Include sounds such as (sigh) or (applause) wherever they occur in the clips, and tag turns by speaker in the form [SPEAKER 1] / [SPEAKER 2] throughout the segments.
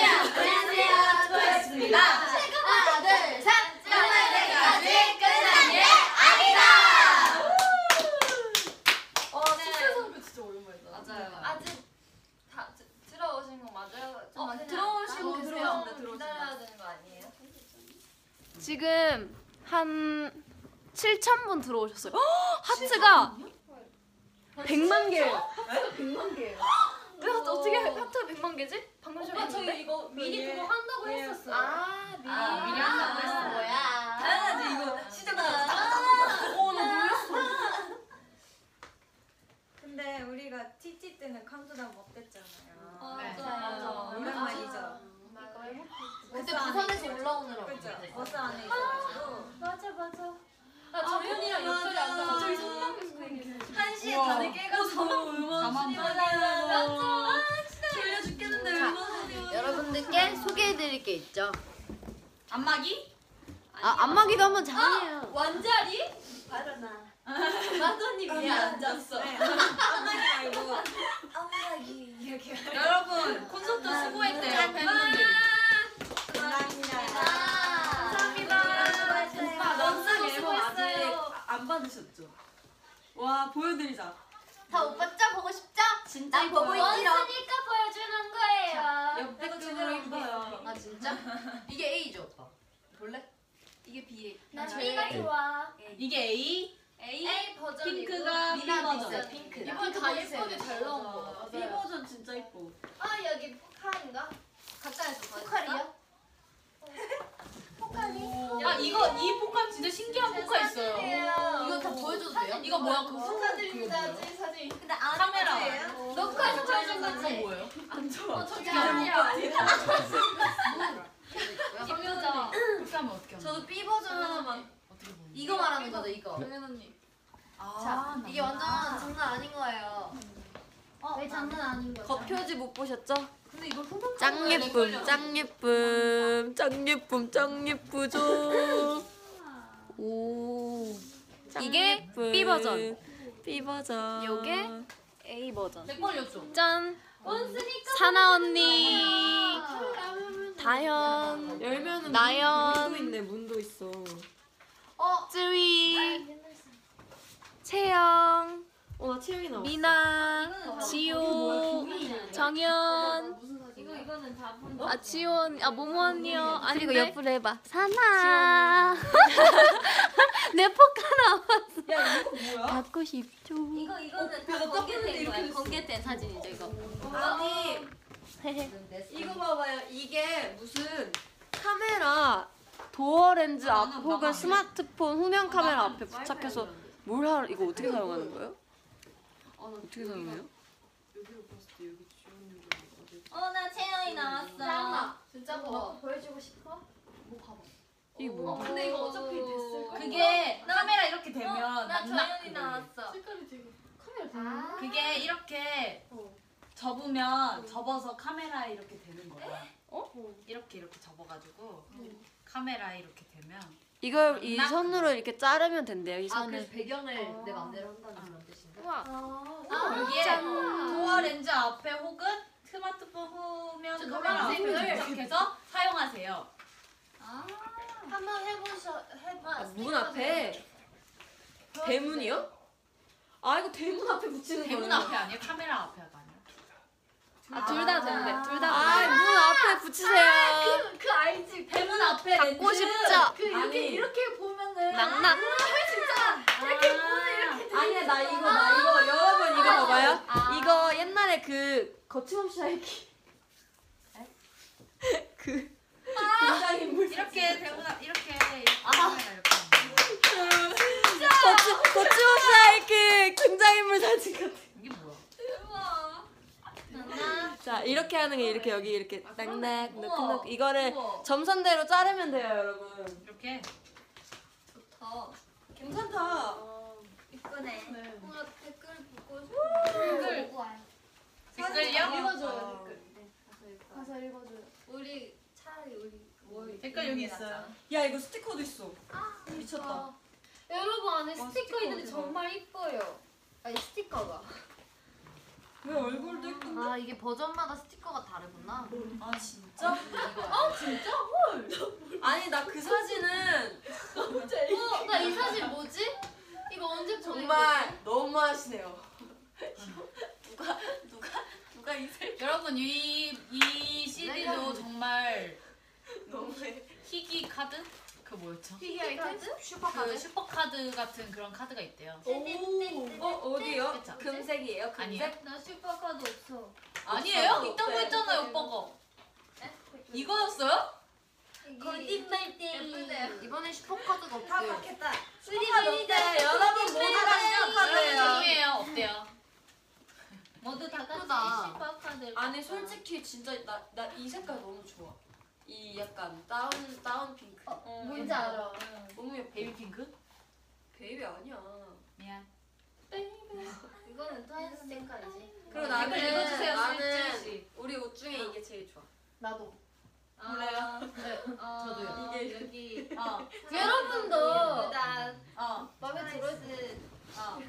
[SPEAKER 1] 네.
[SPEAKER 2] 맞아요.
[SPEAKER 3] 아직 다 드- 들어오신 거 맞아요? 좀
[SPEAKER 2] 어,
[SPEAKER 3] 그냥
[SPEAKER 2] 들어오시고
[SPEAKER 3] 나오세요.
[SPEAKER 2] 들어오신다,
[SPEAKER 3] 좀
[SPEAKER 2] 들어오신다.
[SPEAKER 3] 기다려야 되는 거 아니에요?
[SPEAKER 4] 지금 한 7천 분 (gasps) 들어오셨어요. 헉, 하트가 100만 개예요.
[SPEAKER 2] 100만 개예요.
[SPEAKER 4] (gasps) 왜 하트 어떻게 하트가 100만 개지? 방금 전에
[SPEAKER 2] 오빠 저희
[SPEAKER 4] 했는데?
[SPEAKER 2] 이거 미리 그거 한다고
[SPEAKER 5] 예.
[SPEAKER 2] 했었어요.
[SPEAKER 3] 아 미리
[SPEAKER 2] 아, 미리 한다고 했어.
[SPEAKER 1] 아,
[SPEAKER 2] 아,
[SPEAKER 3] 뭐야?
[SPEAKER 5] 당연하지 이거 시작하자.
[SPEAKER 2] 어, 나 놀랐어.
[SPEAKER 5] 근데 우리가 TT 때는 카운트다운 못했잖아요. 네.
[SPEAKER 1] 네.
[SPEAKER 2] 맞아.
[SPEAKER 3] 맞아.
[SPEAKER 5] 오랜만이죠.
[SPEAKER 3] 맞아요.
[SPEAKER 5] 그때
[SPEAKER 3] 부산에서 올라오느라고.
[SPEAKER 5] 그죠? 버스 안에 있어가지고
[SPEAKER 2] 맞아, 맞아. 나 정현이랑
[SPEAKER 5] 맞아.
[SPEAKER 2] 옆자리 앉아.
[SPEAKER 5] 갑자기
[SPEAKER 3] 한 시에 다들
[SPEAKER 4] 어,
[SPEAKER 3] 깨가지고
[SPEAKER 5] (laughs) 맞아. 졸려 죽겠는데
[SPEAKER 4] 여러분들께 소개해드릴 게 있죠.
[SPEAKER 5] 안마기?
[SPEAKER 4] 아 안마기도 한번 장해요.
[SPEAKER 2] 완자리?
[SPEAKER 5] 바로나.
[SPEAKER 2] 마더니 위에 앉았어.
[SPEAKER 5] 네. 안마기 말고 안마기 이렇게. 여러분 콘서트 수고했대요 팬분들. 감사합니다.
[SPEAKER 3] 감사합니다.
[SPEAKER 5] 수고하셨어요.
[SPEAKER 1] 아,
[SPEAKER 2] 오빠, 넌
[SPEAKER 3] 너무
[SPEAKER 2] 앨범 아직
[SPEAKER 3] 수고했어요.
[SPEAKER 1] 안 받으셨죠? 와 보여드리자.
[SPEAKER 3] 다 오빠 짜 보고 싶죠? 진짜
[SPEAKER 5] 난 보고
[SPEAKER 3] 이뻐요.
[SPEAKER 5] 있지롱.
[SPEAKER 3] 원스니까 보여주는 거예요.
[SPEAKER 1] 옆에도 제대로 입어요.
[SPEAKER 2] 아 진짜? 이게 A죠 오빠. 볼래? 이게 B.
[SPEAKER 3] 난
[SPEAKER 2] 저
[SPEAKER 3] B가 좋아.
[SPEAKER 1] 이게 A.
[SPEAKER 2] A.
[SPEAKER 3] A 버전이고
[SPEAKER 1] 핑크가
[SPEAKER 3] B
[SPEAKER 1] B 버전.
[SPEAKER 3] 버전. 아, 핑크.
[SPEAKER 2] 이번 다 예쁘게 잘 나온 거.
[SPEAKER 1] B 버전 진짜 이뻐.
[SPEAKER 3] 아 여기 포카인가?
[SPEAKER 2] 가짜에서
[SPEAKER 3] 포카리야? 포카리?
[SPEAKER 1] 아 이거 이 포카 진짜 신기한 포카 있어요.
[SPEAKER 2] 이거 다 보여줘도 돼요? 이거 뭐야? 그
[SPEAKER 3] 축하드립니다.
[SPEAKER 2] 뭐예요?
[SPEAKER 3] 제 사진.
[SPEAKER 5] 근데 안
[SPEAKER 1] 카메라.
[SPEAKER 5] 보여요?
[SPEAKER 2] 아,
[SPEAKER 3] 녹화해서 보여준
[SPEAKER 1] 이거
[SPEAKER 3] 거지?
[SPEAKER 1] 뭐예요? 안 어, 좋아.
[SPEAKER 2] 저기
[SPEAKER 3] 정효자.
[SPEAKER 2] 그렇게 하면 어떻게 하는
[SPEAKER 3] 저도 B 버전 하나만.
[SPEAKER 2] 어떻게 보는 거야?
[SPEAKER 3] 이거 말하는 거죠 이거.
[SPEAKER 2] 정현 언니.
[SPEAKER 3] 자 이게 완전 장난 아닌 거예요. 왜 장난 아닌 거죠?
[SPEAKER 4] 겉표지 못 보셨죠?
[SPEAKER 2] 근데 이거 후보
[SPEAKER 4] 짱 예쁨, 짱 예쁨, 짱 예쁨, 짱 (laughs) 예쁘죠. 오. 이게 B 버전.
[SPEAKER 6] B 버전.
[SPEAKER 4] 요게 A 버전.
[SPEAKER 2] 백벌렸죠?
[SPEAKER 4] 짠.
[SPEAKER 3] 원스니까
[SPEAKER 4] 사나 언니, 다현,
[SPEAKER 6] 열면은 문도
[SPEAKER 4] 나연,
[SPEAKER 6] 있네. 문도 있어.
[SPEAKER 3] 어.
[SPEAKER 4] 쯔위, 채영,
[SPEAKER 6] 어나 채영이 나왔어.
[SPEAKER 4] 미나, 지호, 정연.
[SPEAKER 3] 이거 이거는 다 본.
[SPEAKER 4] 아 지원 아 모모 언니요 아니 그리고 옆으로 해봐 사나 (laughs) 내 포카
[SPEAKER 1] 야 이거 뭐야?
[SPEAKER 6] 받고 싶죠.
[SPEAKER 3] 이거 이거는 다
[SPEAKER 1] 나 떴는데
[SPEAKER 3] 공개된 거야.
[SPEAKER 1] 이렇게
[SPEAKER 3] 공개된 사진이죠 이거.
[SPEAKER 5] 아니
[SPEAKER 3] 이거
[SPEAKER 5] 이거 봐봐요. 이게 무슨
[SPEAKER 4] 카메라 도어 렌즈
[SPEAKER 1] 나는
[SPEAKER 4] 앞
[SPEAKER 1] 나만
[SPEAKER 4] 혹은 스마트폰 후면 카메라
[SPEAKER 1] 나는
[SPEAKER 4] 앞에
[SPEAKER 1] 와이파이
[SPEAKER 4] 부착해서
[SPEAKER 1] 연결돼.
[SPEAKER 4] 뭘 하러 이거 어떻게 사용하는 거예요?
[SPEAKER 1] 어, 나
[SPEAKER 4] 어떻게
[SPEAKER 1] 여기가-
[SPEAKER 4] 사용해요?
[SPEAKER 1] 여기로 봤을 때 여기 지원님 어디?
[SPEAKER 5] 어나 채영이 나왔어.
[SPEAKER 3] 짱나. 진짜 뭐.
[SPEAKER 2] 보여주고 싶어?
[SPEAKER 1] 뭐 봐봐.
[SPEAKER 4] 이게 뭐야?
[SPEAKER 2] 근데 이거 어차피 됐을 거.
[SPEAKER 5] 그게
[SPEAKER 1] 카메라 이렇게
[SPEAKER 5] 어, 나 정연이
[SPEAKER 1] 그거예요.
[SPEAKER 5] 나왔어.
[SPEAKER 2] 색깔이 되게 카메라
[SPEAKER 3] 아.
[SPEAKER 1] 그게 이렇게 접으면 접어서 카메라에 이렇게 되는 거야. 어? 이렇게 이렇게 접어가지고 카메라에 이렇게 되면
[SPEAKER 4] 이걸 이 선으로 이렇게 자르면 된대요 이
[SPEAKER 2] 아
[SPEAKER 4] 선을
[SPEAKER 2] 그래서 배경을 내 맘대로 한다는 그런
[SPEAKER 3] 네.
[SPEAKER 2] 뜻인가?
[SPEAKER 4] 우와
[SPEAKER 3] 아,
[SPEAKER 1] 여기에 도어 렌즈 앞에 혹은 스마트폰 후면
[SPEAKER 2] 저
[SPEAKER 1] 카메라 앞에
[SPEAKER 2] 노란색을
[SPEAKER 1] 부착해서 사용하세요.
[SPEAKER 3] 한번 해보셔
[SPEAKER 4] 아,
[SPEAKER 3] 해봐.
[SPEAKER 6] 문 앞에 대문이요? 아 이거 대문 앞에
[SPEAKER 4] 그
[SPEAKER 6] 붙이는
[SPEAKER 1] 대문
[SPEAKER 6] 거예요.
[SPEAKER 1] 앞에 아니에요? 카메라 앞에 아니에요?
[SPEAKER 4] 아둘 다 된대 둘 다 아,
[SPEAKER 6] 아, 문 앞에 붙이세요.
[SPEAKER 2] 그 알지?
[SPEAKER 1] 대문 앞에 렌즈.
[SPEAKER 4] 갖고 싶죠?
[SPEAKER 2] 그 이렇게
[SPEAKER 6] 아니.
[SPEAKER 2] 이렇게 보면은
[SPEAKER 4] 낙낙
[SPEAKER 6] 아니야 나 이거 나 이거 여러분
[SPEAKER 4] 아.
[SPEAKER 6] 이거 봐봐요. 이거 옛날에 그 거침없이 살기. 그 굉장히 물
[SPEAKER 1] 이렇게 대문 앞 이렇게 이렇게 카메라 이렇게. 하는 거예요.
[SPEAKER 6] 거침 거침없이 살기 굉장인물 그 사진 같아.
[SPEAKER 1] 이게 뭐야?
[SPEAKER 6] 자 이렇게 하는 게 이렇게 여기 이렇게
[SPEAKER 4] 아,
[SPEAKER 6] 낙낙 노크노크
[SPEAKER 2] 네.
[SPEAKER 6] 이거를 점선대로 자르면 돼요 여러분.
[SPEAKER 1] 이렇게
[SPEAKER 6] 괜찮다.
[SPEAKER 5] 이쁘네.
[SPEAKER 3] 댓글 보고
[SPEAKER 2] 음.
[SPEAKER 3] 싶어. 댓글 보고 와요.
[SPEAKER 6] 아,
[SPEAKER 1] 댓글요?
[SPEAKER 2] 읽어줘요 댓글.
[SPEAKER 3] 가서 읽어줘요. 우리 차라리 우리 뭐 뭘
[SPEAKER 1] 댓글 여기 있어요.
[SPEAKER 4] 아.
[SPEAKER 6] 야 이거 스티커도 있어. 미쳤다.
[SPEAKER 3] 아, 여러분 안에
[SPEAKER 1] 와,
[SPEAKER 3] 스티커
[SPEAKER 1] 스티커
[SPEAKER 3] 있는데
[SPEAKER 1] 대박.
[SPEAKER 3] 정말 이뻐요. 아니 스티커가.
[SPEAKER 6] 왜 얼굴도 예쁜데?
[SPEAKER 2] 아 이게 버전마다 스티커가 다르구나.
[SPEAKER 1] 아 진짜?
[SPEAKER 6] 아니 나 그 사진은
[SPEAKER 3] 어, 나 이 사진 뭐지? 이거 언제 보낸 거지?
[SPEAKER 6] 정말 너무하시네요. 누가
[SPEAKER 1] 여러분 이, 이 CD도 정말 너무 희귀 카드? 그 뭐였죠?
[SPEAKER 2] 희귀 아이템?
[SPEAKER 1] 그
[SPEAKER 2] 슈퍼카드?
[SPEAKER 1] 슈퍼 카드 같은 그런 카드가 있대요.
[SPEAKER 6] 오, 어 어디요?
[SPEAKER 1] 그쵸?
[SPEAKER 6] 금색이에요?
[SPEAKER 1] 아니에요?
[SPEAKER 6] 금색?
[SPEAKER 3] 나 슈퍼카드 없어.
[SPEAKER 6] 아,
[SPEAKER 1] 아니에요?
[SPEAKER 6] 없어요.
[SPEAKER 1] 있다고 했잖아요, 오빠가.
[SPEAKER 3] 음.
[SPEAKER 1] 이거였어요?
[SPEAKER 3] 거짓말쟁이.
[SPEAKER 2] 이번엔 슈퍼카드가
[SPEAKER 5] 다
[SPEAKER 2] 없대요.
[SPEAKER 5] 받겠다.
[SPEAKER 6] 슈퍼카드 없대. 여러분 모두가
[SPEAKER 1] 여러분
[SPEAKER 6] 슈퍼카드예요.
[SPEAKER 1] 중요해요. 어때요?
[SPEAKER 3] 모두 다 같이
[SPEAKER 2] 예쁘다.
[SPEAKER 6] 아,
[SPEAKER 3] 슈퍼카드.
[SPEAKER 6] 아니 솔직히 진짜 나 나 이 색깔 너무 좋아. 이 약간 다운 다운 핑크. 어,
[SPEAKER 3] 뭔지 알아.
[SPEAKER 6] 너무 예뻐.
[SPEAKER 1] 베이비 핑크?
[SPEAKER 6] 베이비 아니야.
[SPEAKER 1] 미안.
[SPEAKER 3] 이거는 토하이스 색깔이지.
[SPEAKER 6] 그리고
[SPEAKER 1] 나
[SPEAKER 6] 나는
[SPEAKER 1] 이걸 읽어주세요,
[SPEAKER 6] 나는
[SPEAKER 1] 수익진 씨.
[SPEAKER 6] 우리 옷 중에 이게 제일 좋아.
[SPEAKER 2] 나도.
[SPEAKER 3] 아,
[SPEAKER 1] 몰라요.
[SPEAKER 3] 네. 저도요.
[SPEAKER 6] 이게
[SPEAKER 1] 여기 어.
[SPEAKER 3] 여러분도
[SPEAKER 1] 어.
[SPEAKER 3] 마음에 들었지.
[SPEAKER 1] 어.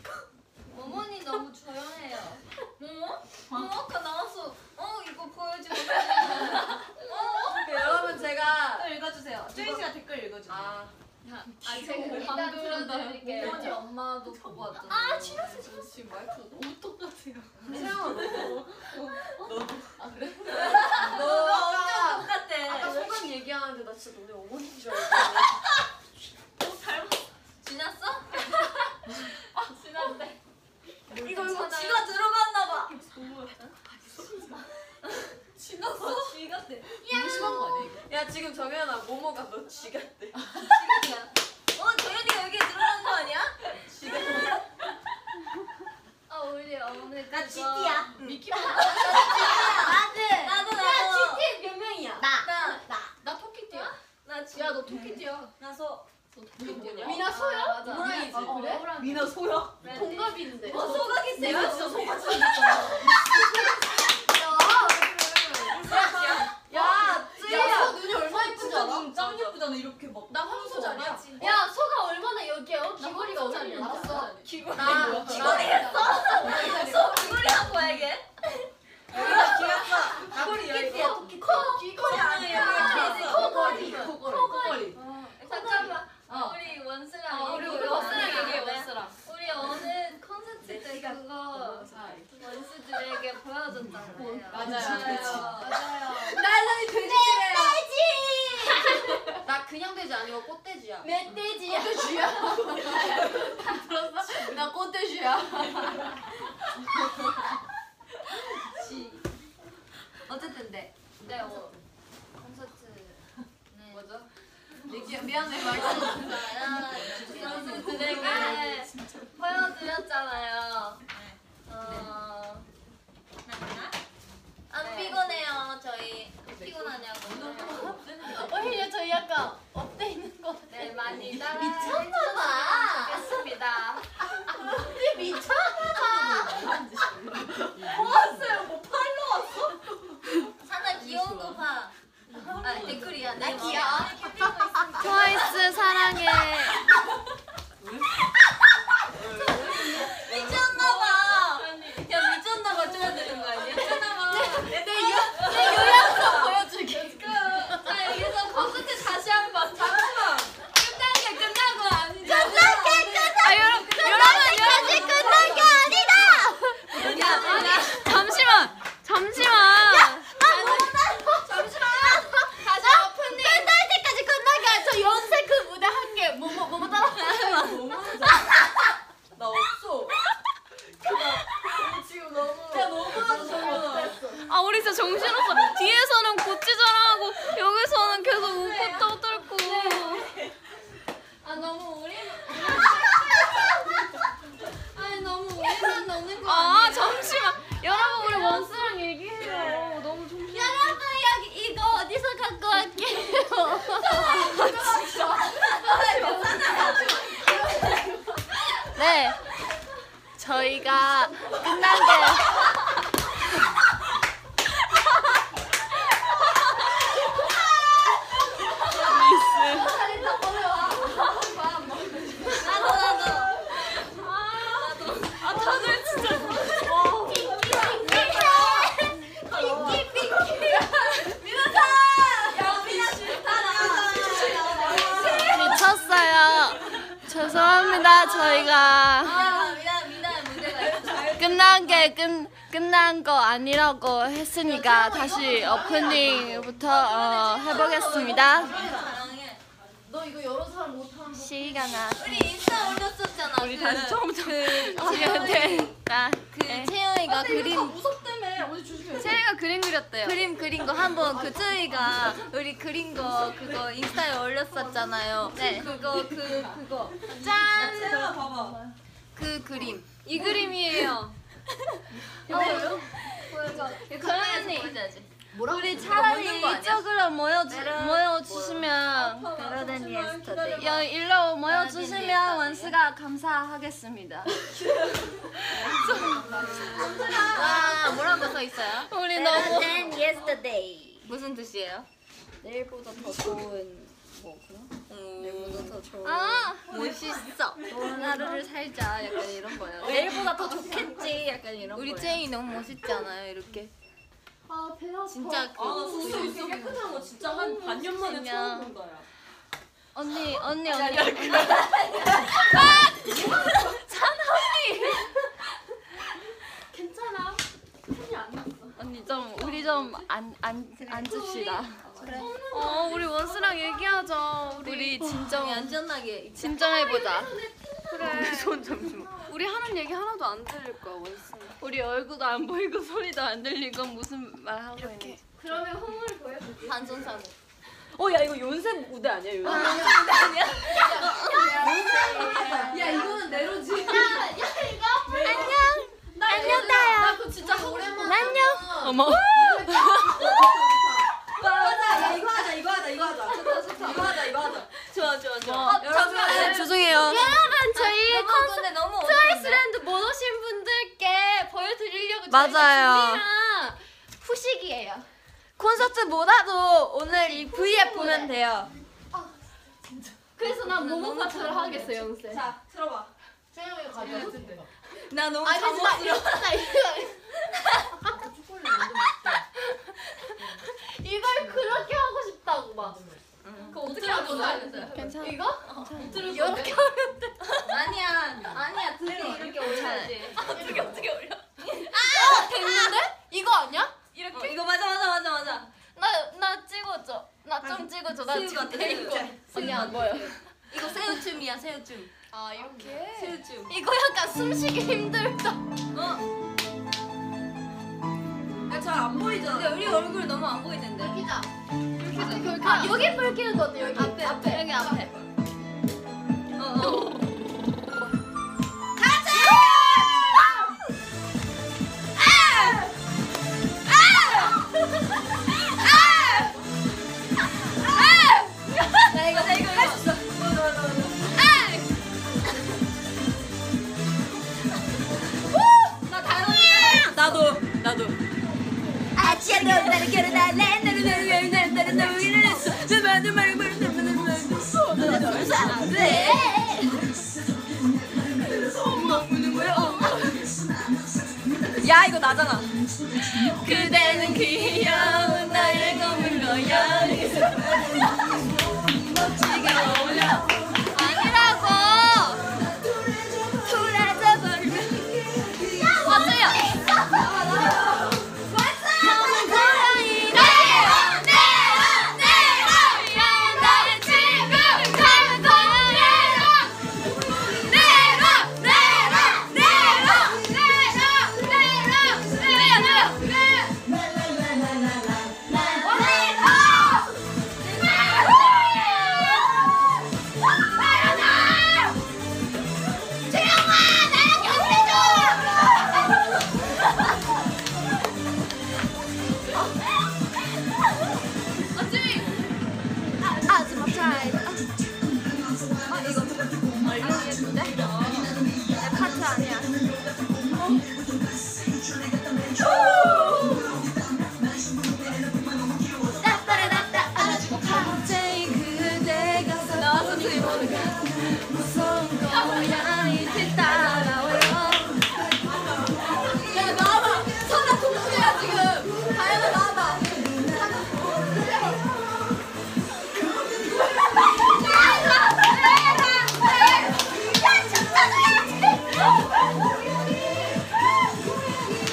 [SPEAKER 3] 어머니 너무 조용해요. 어머? 어머가 나와서 어 이거 보여주고 그래.
[SPEAKER 6] 네, 여러분 제가
[SPEAKER 1] 또 읽어주세요. 쭈이 씨가 댓글 읽어주세요.
[SPEAKER 6] 아
[SPEAKER 3] 아뭐 제가 일단 들어드릴게요.
[SPEAKER 2] 어머니 엄마도 보고 왔잖아. 아, 싫었어, 싫었어. 지금 와이프 너무 똑같아요.
[SPEAKER 6] 아,
[SPEAKER 2] 아,
[SPEAKER 6] 너 아까
[SPEAKER 1] 똑같대.
[SPEAKER 6] 아까 소감 얘기하는데 나 진짜 너네 어머니인 줄 알았어.
[SPEAKER 3] 지났어?
[SPEAKER 1] 지난데.
[SPEAKER 6] 이거 이거
[SPEAKER 3] 지가 들어갔나 봐.
[SPEAKER 6] 지났어? 지갔대.
[SPEAKER 1] 너무 심한 거 아니에요?
[SPEAKER 6] 야 지금 정연아 모모가 너 쥐같대.
[SPEAKER 3] 어 조연이가 여기 들어간 거 아니야? 아 우리 오늘 나 GT야. 미키야. 나도 나도 나도.
[SPEAKER 6] GTA 몇 명이야?
[SPEAKER 2] 나 토끼띠야.
[SPEAKER 6] 나 지금 네.
[SPEAKER 2] 야, 너 토끼띠야.
[SPEAKER 6] 나서
[SPEAKER 2] 토끼띠야.
[SPEAKER 6] 미나 소야? 아,
[SPEAKER 2] 호랑이지. 그래?
[SPEAKER 6] 미나 소야?
[SPEAKER 2] 동갑인데.
[SPEAKER 6] 어 소각이 세. 내가 진짜 소각이 야
[SPEAKER 2] 야,
[SPEAKER 6] 쯔야.
[SPEAKER 2] 소 눈이 얼마 이쁜지
[SPEAKER 1] 진짜
[SPEAKER 6] 어,
[SPEAKER 2] 알아?
[SPEAKER 1] 눈짱 예쁘잖아 이렇게 막.
[SPEAKER 6] 나 황소 자리야.
[SPEAKER 2] 야, 소가 얼마나 여기야?
[SPEAKER 3] 아,
[SPEAKER 2] 귀걸이가 어울리는지 알아?
[SPEAKER 1] (laughs)
[SPEAKER 6] 나 귀걸이
[SPEAKER 3] 소리한 거야 이게?
[SPEAKER 6] 귀엽다. 귀걸이
[SPEAKER 2] 토끼띠야,
[SPEAKER 6] 열려.
[SPEAKER 2] 토끼띠. 커, 귀걸이
[SPEAKER 6] 아니야.
[SPEAKER 2] 코걸이.
[SPEAKER 1] 코걸이.
[SPEAKER 3] 잠깐만.
[SPEAKER 1] 어.
[SPEAKER 3] 우리 원스랑 어.
[SPEAKER 1] 어, 우리
[SPEAKER 3] 얘기
[SPEAKER 1] 우리
[SPEAKER 3] 좀
[SPEAKER 4] 아,
[SPEAKER 1] 원스랑
[SPEAKER 4] 네.
[SPEAKER 3] 하자.
[SPEAKER 1] 얘기해 원스랑.
[SPEAKER 3] 우리 오늘 콘서트 때 그거 원스들에게 보여줬단 말이에요.
[SPEAKER 1] 맞아요.
[SPEAKER 3] 맞아요.
[SPEAKER 6] 나는 돼지.
[SPEAKER 3] (laughs)
[SPEAKER 6] 나 그냥 돼지 아니고 꽃돼지야.
[SPEAKER 3] 멧돼지야. (laughs)
[SPEAKER 2] 나 꽃돼지야.
[SPEAKER 3] 어쨌든 네. 네, 어, 콘서트. 네.
[SPEAKER 6] 뭐죠?
[SPEAKER 2] 미안해, 말도
[SPEAKER 3] 콘서트들에게 보여드렸잖아요. 어, 안 피곤해요, 저희. 안 (laughs) 피곤하냐고.
[SPEAKER 2] 오히려 저희 약간 업돼 있는 거 같아.
[SPEAKER 3] 네, 많이 따라 미쳤나봐. 좋겠습니다. 뭐 사나 귀여운 거 봐. 아, 댓글이야. 나 귀여워.
[SPEAKER 4] 트와이스 사랑해.
[SPEAKER 3] 미쳤나봐. 야, 미쳤나봐. 줘야 되는 거 아니야? 미쳤나봐. 그러니까. 자, 여기서 콘서트 다시 한 번. 잠시만. 끝난 게 끝난 거 아니죠?
[SPEAKER 4] 아 여러분 여러분 여러분 끝난 게 아니다. 잠시만 잠시만.
[SPEAKER 2] 가자, 푸님. 어? 끝날 때까지 끝난 게 아니라 저 연세 그 무대 한 개. 뭐뭐 뭐뭐 따라.
[SPEAKER 6] 나 없어. 나 지금 너무. 야 너무나도 정연아.
[SPEAKER 4] 아 우리 진짜 정신없어. 뒤에서는 구찌 자랑하고 여기서는 계속 웃고 떠들고. 네.
[SPEAKER 3] 아, 너무 (laughs) 오래. 아니, 너무 오래만 넘는 거
[SPEAKER 4] 아
[SPEAKER 3] 아니야?
[SPEAKER 4] 잠시만. 여러분 우리 원스랑 얘기해요. 어, 너무 정신.
[SPEAKER 3] 여러분, 여기 이거 어디서 갖고 왔게요?
[SPEAKER 4] 네. 저희가 끝난 게.
[SPEAKER 3] 나도, 나도.
[SPEAKER 4] 미쳤어요. 죄송합니다. 저희가
[SPEAKER 3] 아, 미나, 미나 무대가 있어.
[SPEAKER 4] 끝난 게 끝, 끝난 거 아니라고 했으니까 다시 오프닝부터 어, 해보겠습니다.
[SPEAKER 1] 다양해.
[SPEAKER 7] 너 이거 여러 사람 못하는 거
[SPEAKER 4] 시간아.
[SPEAKER 1] 우리 인스타 올렸었잖아. 그. 우리 다시 처음
[SPEAKER 4] 나
[SPEAKER 1] 그 채영이가 그림
[SPEAKER 7] 무섭다며 어디 조심해
[SPEAKER 4] 채이가 그림 그렸대요.
[SPEAKER 1] 그림 그린 거 한번 그 저희가 우리 그린 거 그거 인스타에 올렸었잖아요. 네. 그거 그 그거
[SPEAKER 6] 채영아 봐봐.
[SPEAKER 1] 그 그림 이 그림이에요. 뭐예요? 보여줘. 언니
[SPEAKER 7] 뭐라고
[SPEAKER 1] 우리 차라리 이쪽으로 모여주 모여주시면
[SPEAKER 4] 베러데니의 스터디. 여 일로
[SPEAKER 1] 네,
[SPEAKER 4] 모여주시면 원수가 감사하겠습니다.
[SPEAKER 1] 아 뭐라고 써 있어요?
[SPEAKER 4] 우리 너무
[SPEAKER 1] 무슨 뜻이에요?
[SPEAKER 7] 내일보다 더 좋은 뭐 그런
[SPEAKER 3] 음.
[SPEAKER 7] 내일보다 더 좋은
[SPEAKER 4] 아
[SPEAKER 1] 멋있어.
[SPEAKER 4] 좋은 하루를 살자 약간 이런 거예요.
[SPEAKER 1] 내일보다 더 좋겠지.
[SPEAKER 4] 약간 이런
[SPEAKER 1] 우리
[SPEAKER 4] 거예요.
[SPEAKER 1] 쟁이 너무 멋있잖아요. 이렇게
[SPEAKER 7] 아 배나
[SPEAKER 1] 진짜
[SPEAKER 6] 아, 나
[SPEAKER 1] 그
[SPEAKER 6] 진짜 있어 깨끗한 거 진짜 한 반년 만에 처음 본다, 야.
[SPEAKER 4] 언니 언니 언니. 언니.
[SPEAKER 7] 괜찮아 큰일 안 났어
[SPEAKER 4] 언니 좀 우리 좀 안안 앉읍시다. 어 우리 원수랑 얘기하자. 우리, 진정
[SPEAKER 1] 안전하게
[SPEAKER 4] 진정해 보자.
[SPEAKER 8] 그래.
[SPEAKER 6] 손 잠시만.
[SPEAKER 8] 우리 하는 얘기 하나도 안 들릴 거야 원스.
[SPEAKER 4] 우리 얼굴도 안 보이고 소리도 안 들리고 무슨 말 하고 있는지.
[SPEAKER 7] 그러면 홍을 보여줘
[SPEAKER 1] 반전사고.
[SPEAKER 6] 어, 야, 이거 요새 무대 아니야, 요새?
[SPEAKER 7] 야 이거는 내로지 야 이거 안녕 안녕
[SPEAKER 4] 따요.
[SPEAKER 7] 나 그거 진짜 오랜만에
[SPEAKER 4] 안녕. 어머.
[SPEAKER 6] 맞아, 야, 이거 하자, 이거 하자, 이거 하자. 좋다, 좋다. 이거 하자, 이거 하자. 좋아, 좋아, 좋아. 여러분,
[SPEAKER 4] 네.
[SPEAKER 6] 아, 죄송해요.
[SPEAKER 4] 여러분 저희
[SPEAKER 1] 아, 너무 근데 너무
[SPEAKER 4] 트와이스랜드 못 오신 분들께 보여드리려고
[SPEAKER 6] 맞아요.
[SPEAKER 4] 저희가 준비한
[SPEAKER 3] 아,
[SPEAKER 4] 후식이에요.
[SPEAKER 6] 콘서트 못하도 오늘 이
[SPEAKER 1] 아,
[SPEAKER 6] V앱 보면 돼요.
[SPEAKER 4] 그래서 난 모모파트를 하겠어 영세.
[SPEAKER 6] 자, 들어봐.
[SPEAKER 7] 채영이 가져야 돼
[SPEAKER 6] 나 너무
[SPEAKER 7] 아니 근데 나 이거 나 이거 이걸 그렇게 하고 싶다고 막
[SPEAKER 1] 그거 어떻게 하는 거야? 어.
[SPEAKER 4] 괜찮아. 어.
[SPEAKER 7] 이거
[SPEAKER 1] 이렇게 하면 돼. 아니야 아니야 등에 이렇게 올려야지.
[SPEAKER 7] 어떻게 어떻게 올려 아 됐는데 이거 아니야
[SPEAKER 6] 이거, 이거 맞아, 맞아, 맞아, 맞아.
[SPEAKER 1] 나 나 찍어줘. 나 좀 찍어줘. 나
[SPEAKER 6] 새우
[SPEAKER 1] 지금
[SPEAKER 6] 같아,
[SPEAKER 1] 데리고.
[SPEAKER 6] 새우.
[SPEAKER 1] 언니 안 보여.
[SPEAKER 6] 이거 새우춤이야, 새우춤.
[SPEAKER 1] 아 이렇게.
[SPEAKER 6] 새우춤.
[SPEAKER 1] 이거 약간 숨쉬기 힘들다.
[SPEAKER 6] 야, 잘안 보이잖아.
[SPEAKER 1] 근데 우리 얼굴 너무 안 보이는데.
[SPEAKER 7] 여기다 아 여기 불키는 거 어때 여기 앞에 앞에
[SPEAKER 1] 여기 앞에.
[SPEAKER 6] 나 이거, 나 이거 할 수 있어. 맞아, 맞아, 맞아. 나도 나도 네. 야 이거 나잖아 그대는 귀여운 나의 검은 로얄 멋지게 어울려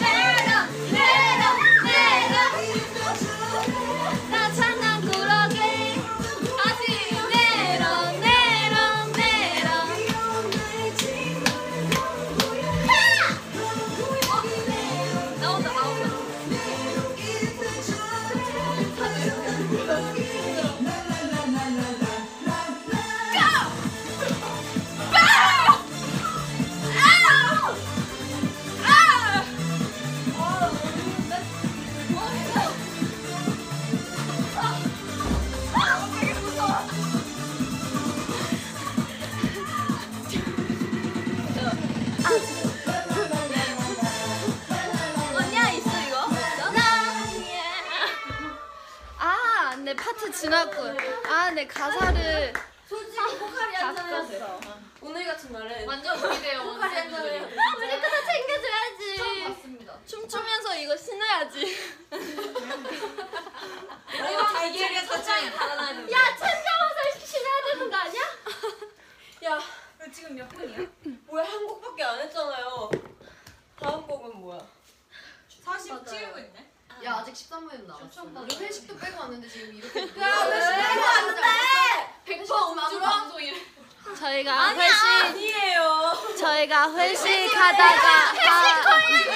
[SPEAKER 3] 아,
[SPEAKER 6] 아,
[SPEAKER 9] 지났고요. 아, 네 가사를
[SPEAKER 2] 솔직히 포카리 한 잔 해야 돼.
[SPEAKER 1] 오늘 같은 날은
[SPEAKER 2] 완전 우리대요. 포카리 한 잔 해야 돼.
[SPEAKER 4] 우리 거다 챙겨줘야지.
[SPEAKER 2] 처음 봤습니다.
[SPEAKER 1] 춤추면서 이거 신어야지. 달걀이 사장에 달아나는.
[SPEAKER 4] 야 챙겨와서 신어야 되는 거 아니야?
[SPEAKER 1] (laughs) 야,
[SPEAKER 3] 그럼 지금 몇 분이야?
[SPEAKER 1] 뭐야 한 곡밖에 안 했잖아요. 다음 곡은 뭐야?
[SPEAKER 3] 47분 있네.
[SPEAKER 2] 야 아직 13분 남았어. 우리 회식도 빼고 왔는데 지금 이렇게. 야 회식
[SPEAKER 1] 빼고
[SPEAKER 2] 왔는데. 백퍼 음주 방송이래.
[SPEAKER 9] 저희가 회식
[SPEAKER 1] 아니에요.
[SPEAKER 9] 저희가 회식하다가 아,
[SPEAKER 4] 아니야. 내 고기도.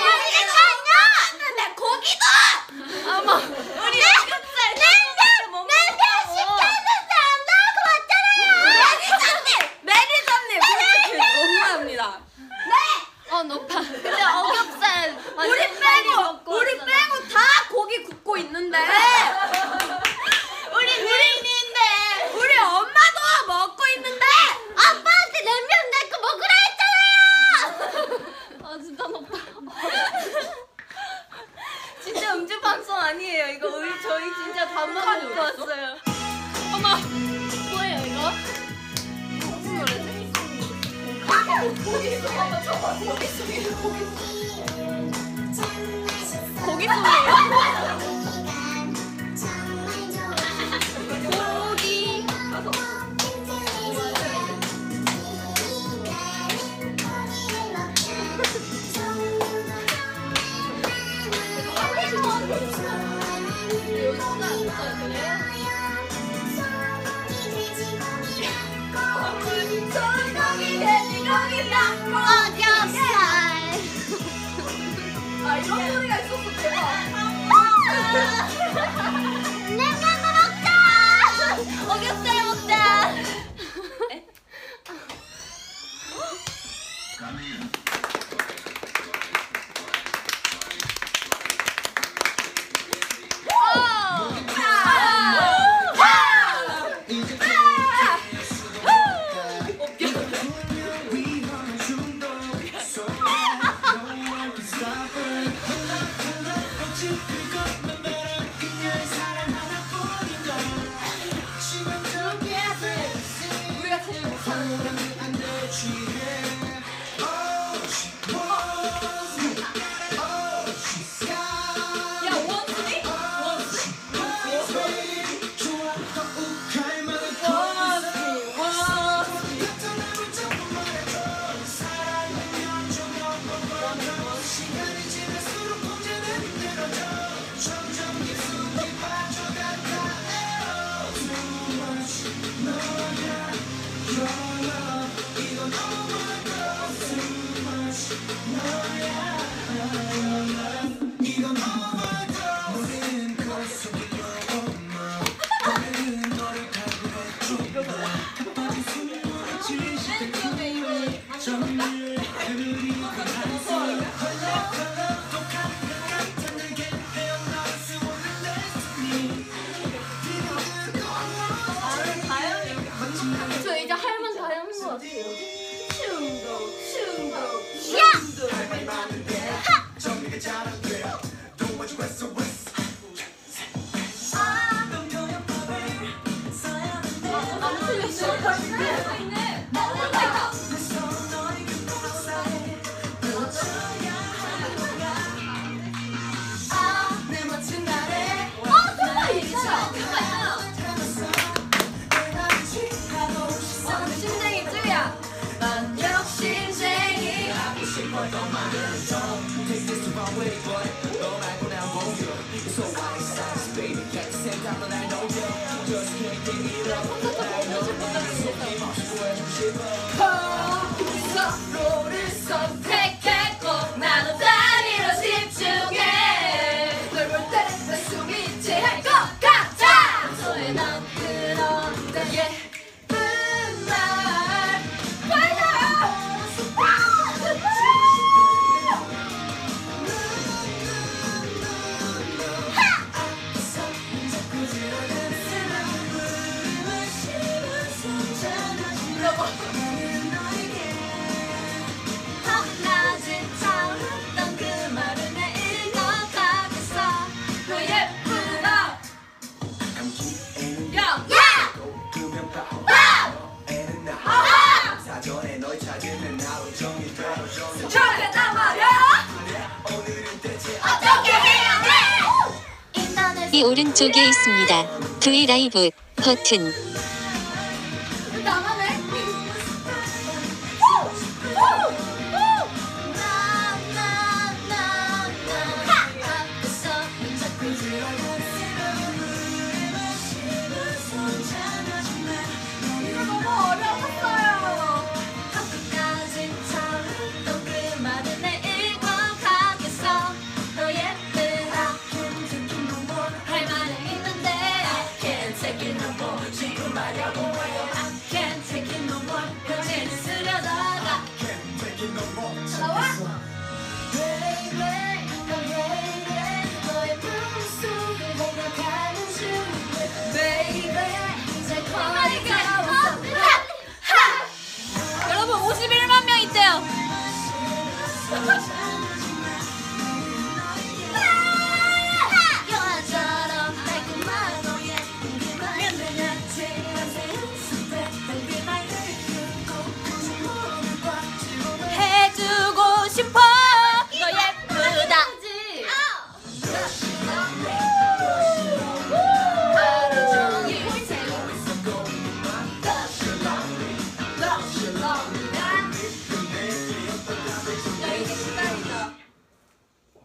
[SPEAKER 9] 어머
[SPEAKER 4] 우리 냉면 냉면 시켰는데 안 나오고 왔잖아요. 매니저님 매니저님.
[SPEAKER 1] 너무합니다.
[SPEAKER 9] 어 높아. 근데 어겹살 우리
[SPEAKER 1] 빼고 우리 빼고 다 고기 굽고 있는데
[SPEAKER 4] 네. 우리 우리인데.
[SPEAKER 1] 우리 엄마도 먹고 있는데
[SPEAKER 4] 아빠한테 냉면 내 거 먹으라 했잖아요.
[SPEAKER 9] 아 진짜 높아.
[SPEAKER 1] 진짜 음주 방송 아니에요. 이거 우리 저희 진짜 밥 먹고 왔어요.
[SPEAKER 9] 뭐예요 이거?
[SPEAKER 1] 고기 소리예요?
[SPEAKER 4] 어겹살
[SPEAKER 2] 아 이런 소리가 있었어 대박.
[SPEAKER 4] 냉면도 먹자 어겹살 먹자
[SPEAKER 2] 저 이제 할만 다 하는 것 같아요.
[SPEAKER 4] 아!
[SPEAKER 10] 여기 오른쪽에 있습니다. V 라이브 버튼.
[SPEAKER 4] 여러분 51만 명 있대요. 해주고 싶어 너 예쁘다. 아!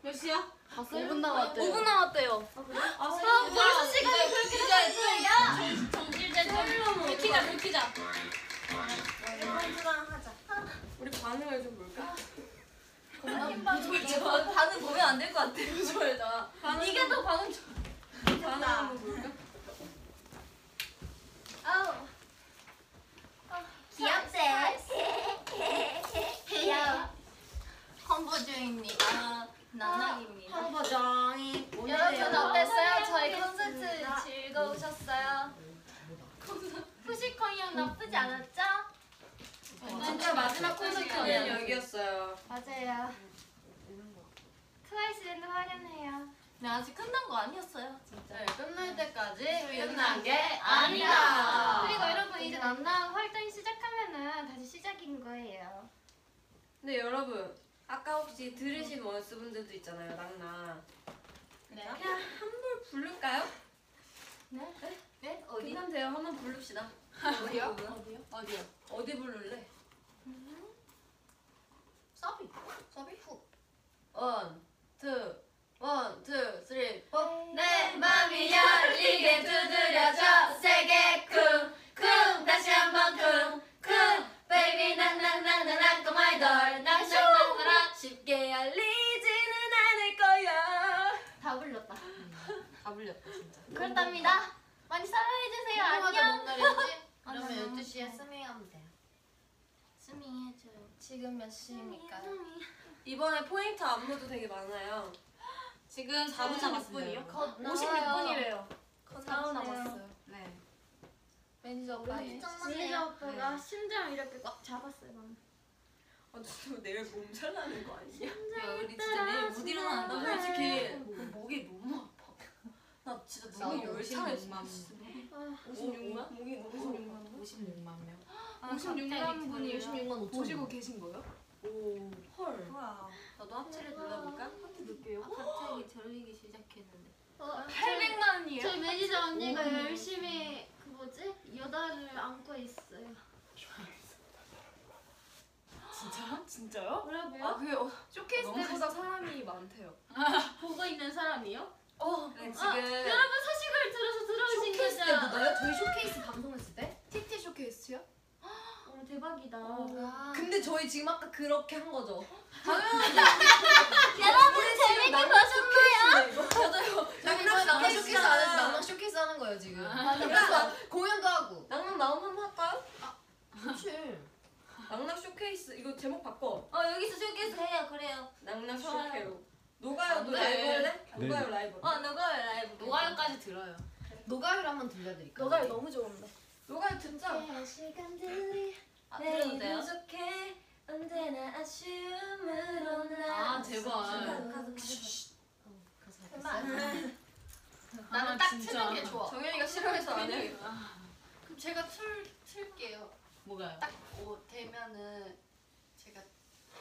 [SPEAKER 1] 몇 시야?
[SPEAKER 11] 5분 남았대.
[SPEAKER 4] 5분 남았대요.
[SPEAKER 3] 벌써 시간이 그렇게 됐어.
[SPEAKER 1] 정질제 좀 비키자 비키자
[SPEAKER 6] 우리 반응을 좀 볼까?
[SPEAKER 3] 반응 보면 안 될 것 같아. 요즘에 나. 이게 더 반응 좋아.
[SPEAKER 6] 반응 볼까?
[SPEAKER 3] 아우.
[SPEAKER 2] 귀엽대.
[SPEAKER 3] (laughs)
[SPEAKER 2] 귀여워.
[SPEAKER 3] 컴보주입니다. 나나입니다.
[SPEAKER 2] 황보정이
[SPEAKER 3] 여러분 어땠어요? 저희 콘서트
[SPEAKER 2] 콘서트
[SPEAKER 3] 즐거우셨어요? 후시콘이형 나쁘지 않았죠?
[SPEAKER 1] 진짜 마지막 콘서트는 여기였어요
[SPEAKER 3] 맞아요. 트와이스랜드 화려해요.
[SPEAKER 1] 근데 아직 끝난 거 아니었어요 진짜 네, 끝날 때까지
[SPEAKER 3] 끝난
[SPEAKER 1] 게
[SPEAKER 3] 아니다. 그리고 여러분 이제 남남 활동이 시작하면은 다시 시작인 거예요.
[SPEAKER 6] 근데 여러분 아까 혹시 들으신 원수분들도 있잖아요 낙나
[SPEAKER 1] 네.
[SPEAKER 6] 그냥 한번 부를까요?
[SPEAKER 3] 네?
[SPEAKER 1] 네? 어디?
[SPEAKER 6] 괜찮대요 한번 부릅시다
[SPEAKER 1] 어디요? 어디요? 어디요?
[SPEAKER 6] 어디 부를래?
[SPEAKER 1] 서비 서비 후
[SPEAKER 6] 원, 투, 원, 투, 쓰리, 포
[SPEAKER 3] 내 맘이 열리게 두드려줘 세게 쿵쿵 다시 한번 쿵쿵 베이비 난난난난 꼬마 아이돌 난 샹랑라 쉽게 열리지는 않을 거야 다 불렀다
[SPEAKER 1] 다 불렸다 진짜
[SPEAKER 3] 그렇답니다 많이 사랑해주세요 안녕
[SPEAKER 2] 그러면 12시에 스밍하면 돼요 스밍해줘요
[SPEAKER 3] 지금 몇 시입니까?
[SPEAKER 6] 이번에 포인트 안무도 되게 많아요
[SPEAKER 1] 지금 4분 남았습니다
[SPEAKER 6] 56분이래요
[SPEAKER 3] 컷 남았어요
[SPEAKER 1] 네
[SPEAKER 3] 매니저 오빠
[SPEAKER 2] 매니저 오빠가
[SPEAKER 3] 아, 심장 이렇게 꽉 잡았어요 방금
[SPEAKER 6] 아, 너 내일 몸살 나는 거 아니야?
[SPEAKER 1] 네. 야 우리 진짜 내일 못 일어난다 솔직히 목이 너무 아파 나 진짜 너무
[SPEAKER 6] 나도
[SPEAKER 1] 열심히
[SPEAKER 6] 56만 아,
[SPEAKER 1] 만
[SPEAKER 6] 56만? 목이 너무 56만
[SPEAKER 1] 56만 명
[SPEAKER 6] 아,
[SPEAKER 11] 56만 분이 56만 5천 보시고 계신 거예요?
[SPEAKER 6] 헐
[SPEAKER 5] 우와.
[SPEAKER 6] 나도 합체를 눌러볼까?
[SPEAKER 11] 갑자기 들리기 시작했는데.
[SPEAKER 3] 어, 800만 원이에요? 저희 매니저 언니가 열심히 그 뭐지? 여다를 안고 있어요
[SPEAKER 1] 진짜요? 진짜요?
[SPEAKER 3] 뭐라고요?
[SPEAKER 1] 아 그게 어,
[SPEAKER 11] 쇼케이스
[SPEAKER 1] 너무
[SPEAKER 11] 때보다 사람이 많대요.
[SPEAKER 3] 보고 있는 사람이요?
[SPEAKER 1] 네,
[SPEAKER 3] 아,
[SPEAKER 1] 지금
[SPEAKER 3] 여러분 소식을 들어서 들어오신 거죠?
[SPEAKER 11] 나요? 저희 쇼케이스 방송했을 때? TT 쇼케이스요?
[SPEAKER 3] 오 어, 대박이다
[SPEAKER 11] 근데 저희 지금 아까 그렇게 한 거죠?
[SPEAKER 6] 네,
[SPEAKER 2] 여러분 재밌게 보셨나요?
[SPEAKER 6] 네,
[SPEAKER 11] 낙낙 낙낙 쇼케이스 안 해서
[SPEAKER 12] 아,
[SPEAKER 11] 낙낙 쇼케이스 하는 거예요 지금. 그래서 공연도 하고.
[SPEAKER 6] 낙낙 나온 한번 할까요?
[SPEAKER 11] 그렇지.
[SPEAKER 6] 낙낙 쇼케이스 이거 제목 바꿔
[SPEAKER 3] 어 여기서 쇼케이스 해요 그래요
[SPEAKER 6] 낙낙
[SPEAKER 3] 좋아요.
[SPEAKER 6] 쇼케이스 노가요도
[SPEAKER 1] 안 돼.
[SPEAKER 6] 라이브 할래?
[SPEAKER 12] 네.
[SPEAKER 6] 노가요 라이브
[SPEAKER 3] 어 누가요 라이브
[SPEAKER 1] 노가요까지 들어요
[SPEAKER 11] 노가요를 한번 들려드릴까요?
[SPEAKER 2] 너무 좋은데
[SPEAKER 6] 노가요 듣자
[SPEAKER 3] 네, 시간들이
[SPEAKER 1] 아, 들어도
[SPEAKER 3] 내일
[SPEAKER 1] 돼요?
[SPEAKER 3] 부족해 언제나 아쉬움으로 나
[SPEAKER 1] 아 제발
[SPEAKER 11] 나는 딱 트는 게
[SPEAKER 1] 좋아
[SPEAKER 6] 정현이가 싫어해서 안 해.
[SPEAKER 11] 그럼 제가 틀 틀게요.
[SPEAKER 1] 뭐가요?
[SPEAKER 11] 오 되면은 제가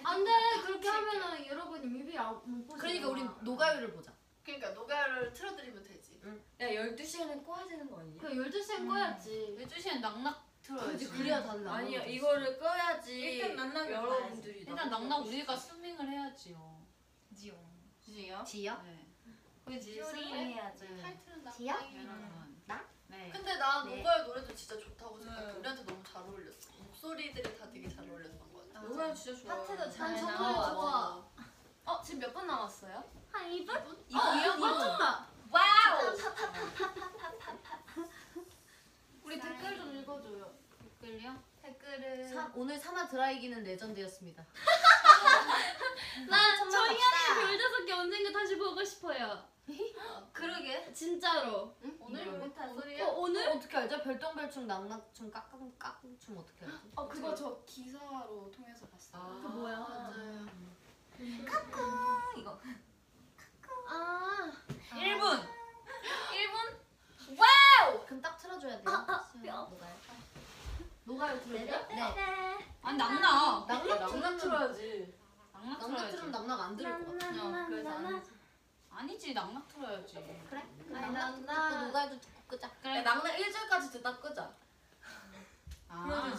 [SPEAKER 3] 안돼 그렇게 하면은 여러분 입이 안- 못 보세요
[SPEAKER 11] 그러니까 우리 노가요를 보자.
[SPEAKER 12] 그러니까 노가를 틀어드리면 되지.
[SPEAKER 1] 야 12시간은 꼬아야 되는 거 아니야?
[SPEAKER 13] 그 12시엔 꺼야지.
[SPEAKER 1] 음.
[SPEAKER 10] 12시엔 낙낙
[SPEAKER 1] 그래야지
[SPEAKER 10] 틀어야지.
[SPEAKER 1] 그래야 다들 나오는
[SPEAKER 6] 아니야
[SPEAKER 1] 거지.
[SPEAKER 6] 이거를 꺼야지
[SPEAKER 14] 일단 만나면
[SPEAKER 6] 여러분들이
[SPEAKER 10] 일단 낙낙 우리가 스밍을 해야지요. 지요?
[SPEAKER 1] 지요?
[SPEAKER 10] 네.
[SPEAKER 1] 그지
[SPEAKER 10] 해야지.
[SPEAKER 12] 타이틀은 나.
[SPEAKER 13] 지역?
[SPEAKER 10] 여러분.
[SPEAKER 1] 나?
[SPEAKER 10] 네.
[SPEAKER 12] 근데 난
[SPEAKER 1] 네.
[SPEAKER 12] 노가의 노래도 진짜 좋다고 생각해. 우리한테 너무 잘 어울렸어. 목소리들이 다 되게 잘 어울렸던 것 같아.
[SPEAKER 1] 노래는 진짜 좋아
[SPEAKER 3] 파트도
[SPEAKER 13] 난
[SPEAKER 3] 잘
[SPEAKER 13] 정말
[SPEAKER 3] 나와.
[SPEAKER 13] 좋아.
[SPEAKER 3] 어 지금 몇 분 남았어요?
[SPEAKER 13] 한 2분?
[SPEAKER 15] 아,
[SPEAKER 10] 이거요?
[SPEAKER 13] 맞췄다.
[SPEAKER 3] 와우. 우리 댓글 좀 읽어줘요.
[SPEAKER 10] 댓글이요?
[SPEAKER 3] 댓글을.
[SPEAKER 1] 사- 오늘 사나 드라이기는 레전드였습니다
[SPEAKER 15] 난 저희 아이 별다섯개 언젠가 다시 보고 싶어요.
[SPEAKER 3] (laughs) 그러게.
[SPEAKER 15] 진짜로.
[SPEAKER 3] 오늘 못한 소리야.
[SPEAKER 15] 어 오늘?
[SPEAKER 1] 어떻게 알죠? 별똥별춤 낙낙춤 깍꿍 깍꿍춤 어떻게 알죠?
[SPEAKER 12] 어 그거 저 기사로 통해서 봤어.
[SPEAKER 1] 그 뭐야?
[SPEAKER 12] 맞아요.
[SPEAKER 13] 아.
[SPEAKER 10] 1분!
[SPEAKER 3] 1분
[SPEAKER 1] 그럼 딱 틀어줘야 돼요 녹아요 녹아요 틀어줘요? 네
[SPEAKER 10] 아니 낙낙!
[SPEAKER 1] 낙낙 낙낙 틀어야지
[SPEAKER 10] 낙낙
[SPEAKER 1] 낙낙
[SPEAKER 10] 틀어야지.
[SPEAKER 1] 틀으면 낙낙 안 들을 것 같아
[SPEAKER 10] 그래서 안 아니지 낙낙 틀어야지.
[SPEAKER 1] 그래?
[SPEAKER 3] 아니,
[SPEAKER 1] 낙낙 듣고
[SPEAKER 3] 낙낙.
[SPEAKER 1] 녹아요 듣고 끄자
[SPEAKER 10] 그래.
[SPEAKER 1] 낙낙 1절까지 듣다 끄자
[SPEAKER 10] 아.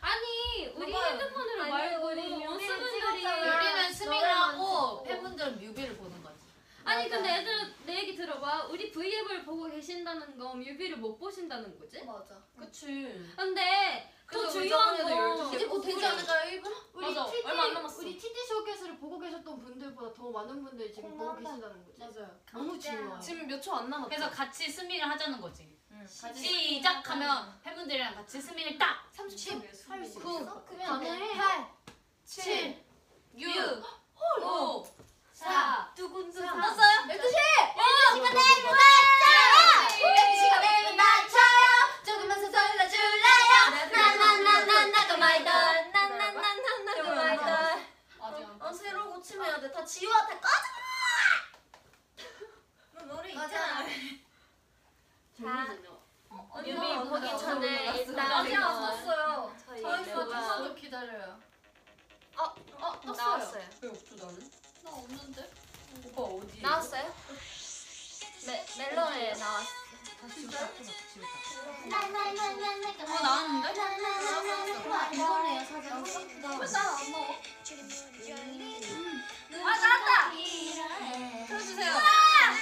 [SPEAKER 15] 아니 우리 핸드폰으로 말고 수분들이 어,
[SPEAKER 10] 우리는 스밍을 하고 팬분들은 뮤비를 보는 거지.
[SPEAKER 15] 아니 근데 애들 내 얘기 들어봐 우리 브이앱을 보고 계신다는 거 뮤비를 못 보신다는 거지?
[SPEAKER 12] 맞아.
[SPEAKER 10] 그치.
[SPEAKER 15] 근데 더 중요한 건
[SPEAKER 1] 이제 곧 되지 않을까요 1분?
[SPEAKER 13] 우리
[SPEAKER 10] 맞아,
[SPEAKER 13] TD
[SPEAKER 10] 얼마 안 남았어.
[SPEAKER 13] 우리 TD 쇼케이스를 보고 계셨던 분들보다 더 많은 분들이 지금 보고 계신다는 거지.
[SPEAKER 12] 맞아요.
[SPEAKER 13] 너무 중요해.
[SPEAKER 1] 지금 몇 초 안 남았어
[SPEAKER 10] 그래서 같이 스밍을 하자는 거지. 시작하면 팬분들이랑 같이 스밍을 딱!
[SPEAKER 12] 30초. 30초.
[SPEAKER 3] 그러면 안 돼.
[SPEAKER 10] 7, 6, 5, 4,
[SPEAKER 3] 두근두근.
[SPEAKER 10] 떴어요?
[SPEAKER 3] 12시가 되면 낮춰요. 12시가 되면 낮춰요. 조금만 더 설레줄래요. 나나나나나도 말던 나나나나나도 말던.
[SPEAKER 10] 맞아.
[SPEAKER 14] 어 새로 고침해야 돼. 다 지우한테 꺼져. 너 노래 있잖아.
[SPEAKER 3] 언니 보기 전에 일단
[SPEAKER 14] 아직 안 썼어요.
[SPEAKER 3] 저희
[SPEAKER 14] 저희가
[SPEAKER 3] 누가
[SPEAKER 12] 좀 기다려요.
[SPEAKER 3] 어 나왔어요.
[SPEAKER 6] 왜 없어 나는?
[SPEAKER 12] 나 없는데?
[SPEAKER 6] 오빠 어디?
[SPEAKER 3] 나왔어요? 멜 멜론에 나왔어.
[SPEAKER 1] 다시 울까? 다시 울까?
[SPEAKER 10] 어, 나왔는데?
[SPEAKER 1] 이거네요 사진
[SPEAKER 3] 나안 먹어.
[SPEAKER 10] 아, 나왔다! 틀어주세요.
[SPEAKER 3] 아! 네.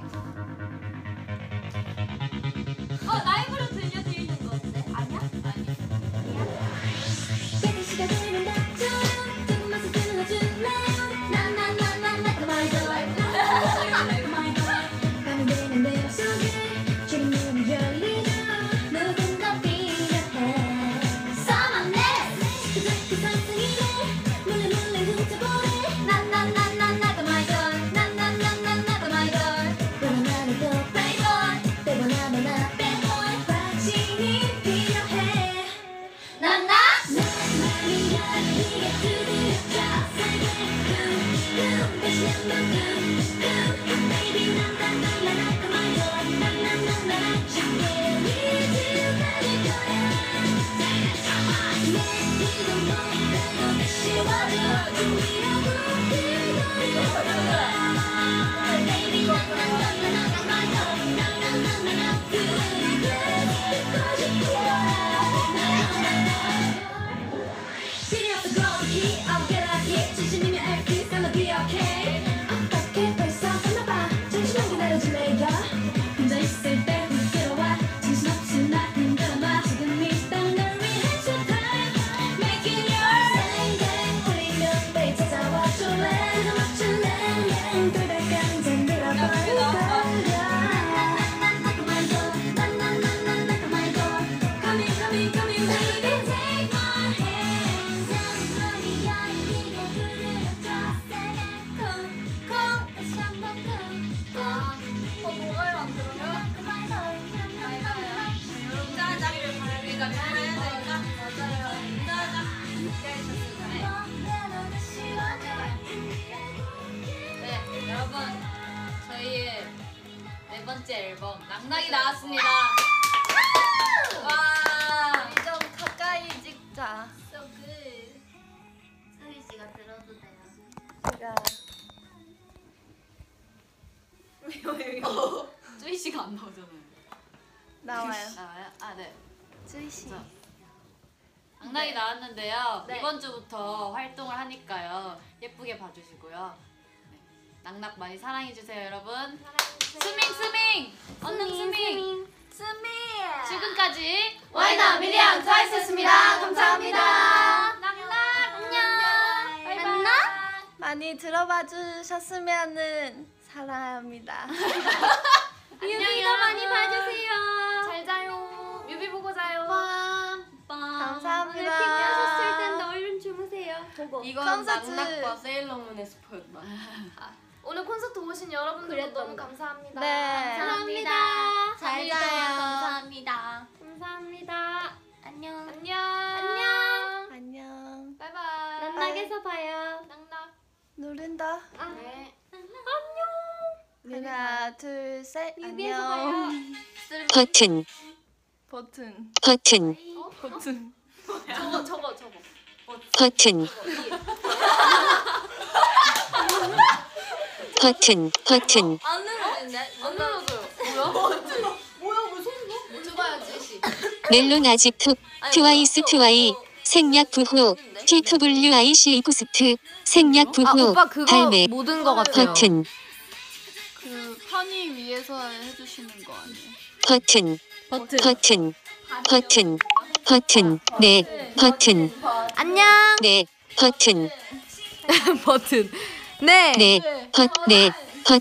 [SPEAKER 3] 아.
[SPEAKER 15] 어 라이브로 들려드리는 거 어때? 아니야?
[SPEAKER 10] 네, 여러분. 저희의 네 번째 앨범, 낙낙이 나왔습니다. 와!
[SPEAKER 3] 이점 가까이 찍자. So good.
[SPEAKER 1] 쯔이 씨가 안 나오잖아요.
[SPEAKER 4] 나와요.
[SPEAKER 1] 나와요? 아 네.
[SPEAKER 4] 쯔이 씨.
[SPEAKER 1] 악나이 나왔는데요. 이번 주부터 활동을 하니까요. 예쁘게 봐주시고요. 네. 낙낙 많이 사랑해주세요, 여러분. 스밍 스밍! 언능 스밍! 지금까지
[SPEAKER 3] 와이나 미리앙 트와이스였습니다. 감사합니다.
[SPEAKER 1] 낙낙! 안녕! 바이바이!
[SPEAKER 4] 많이 들어봐 주셨으면은 사랑합니다.
[SPEAKER 1] 안녕! 많이 봐주세요!
[SPEAKER 3] 잘 자요. 뮤비 보고 자요.
[SPEAKER 4] 감사합니다.
[SPEAKER 3] 아, 오늘 피곤하셨을 텐데 얼른 주무세요. 보고.
[SPEAKER 12] 이건
[SPEAKER 4] 콘서트.
[SPEAKER 12] 낙낙과 세일러문의 스포였다.
[SPEAKER 3] 오늘 콘서트 오신 여러분들도 너무 감사합니다.
[SPEAKER 4] 네.
[SPEAKER 3] 감사합니다.
[SPEAKER 2] 잘 자요. 감사합니다.
[SPEAKER 3] 감사합니다. 안녕. 안녕. 안녕.
[SPEAKER 4] 안녕.
[SPEAKER 3] 바이바이.
[SPEAKER 4] 낭낭에서
[SPEAKER 3] 봐요. 낙낙.
[SPEAKER 4] 누른다.
[SPEAKER 3] 네.
[SPEAKER 4] 하나, 둘, 셋.
[SPEAKER 3] 뮤비에서
[SPEAKER 4] 안녕.
[SPEAKER 3] 봐요.
[SPEAKER 10] 버튼
[SPEAKER 4] 버튼.
[SPEAKER 10] 버튼
[SPEAKER 4] 버튼.
[SPEAKER 3] 저거 저거 저거.
[SPEAKER 10] 버튼 버튼 버튼
[SPEAKER 3] 안 눌러지네. 안 눌러줘요.
[SPEAKER 12] 오토바이 쯔씨.
[SPEAKER 10] 멜론 아지프 트와이스 트와이 생략 부호 PWIC 이코스트 생략 부호 발매
[SPEAKER 11] 모든 거
[SPEAKER 10] 버튼
[SPEAKER 4] 그 편의 위에서 해주시는 거 아니에요?
[SPEAKER 10] 버튼 버튼 버튼 버튼 네 버튼
[SPEAKER 4] 안녕. (laughs)
[SPEAKER 10] 네 버튼
[SPEAKER 11] 버튼. 네.
[SPEAKER 10] 네 버튼 네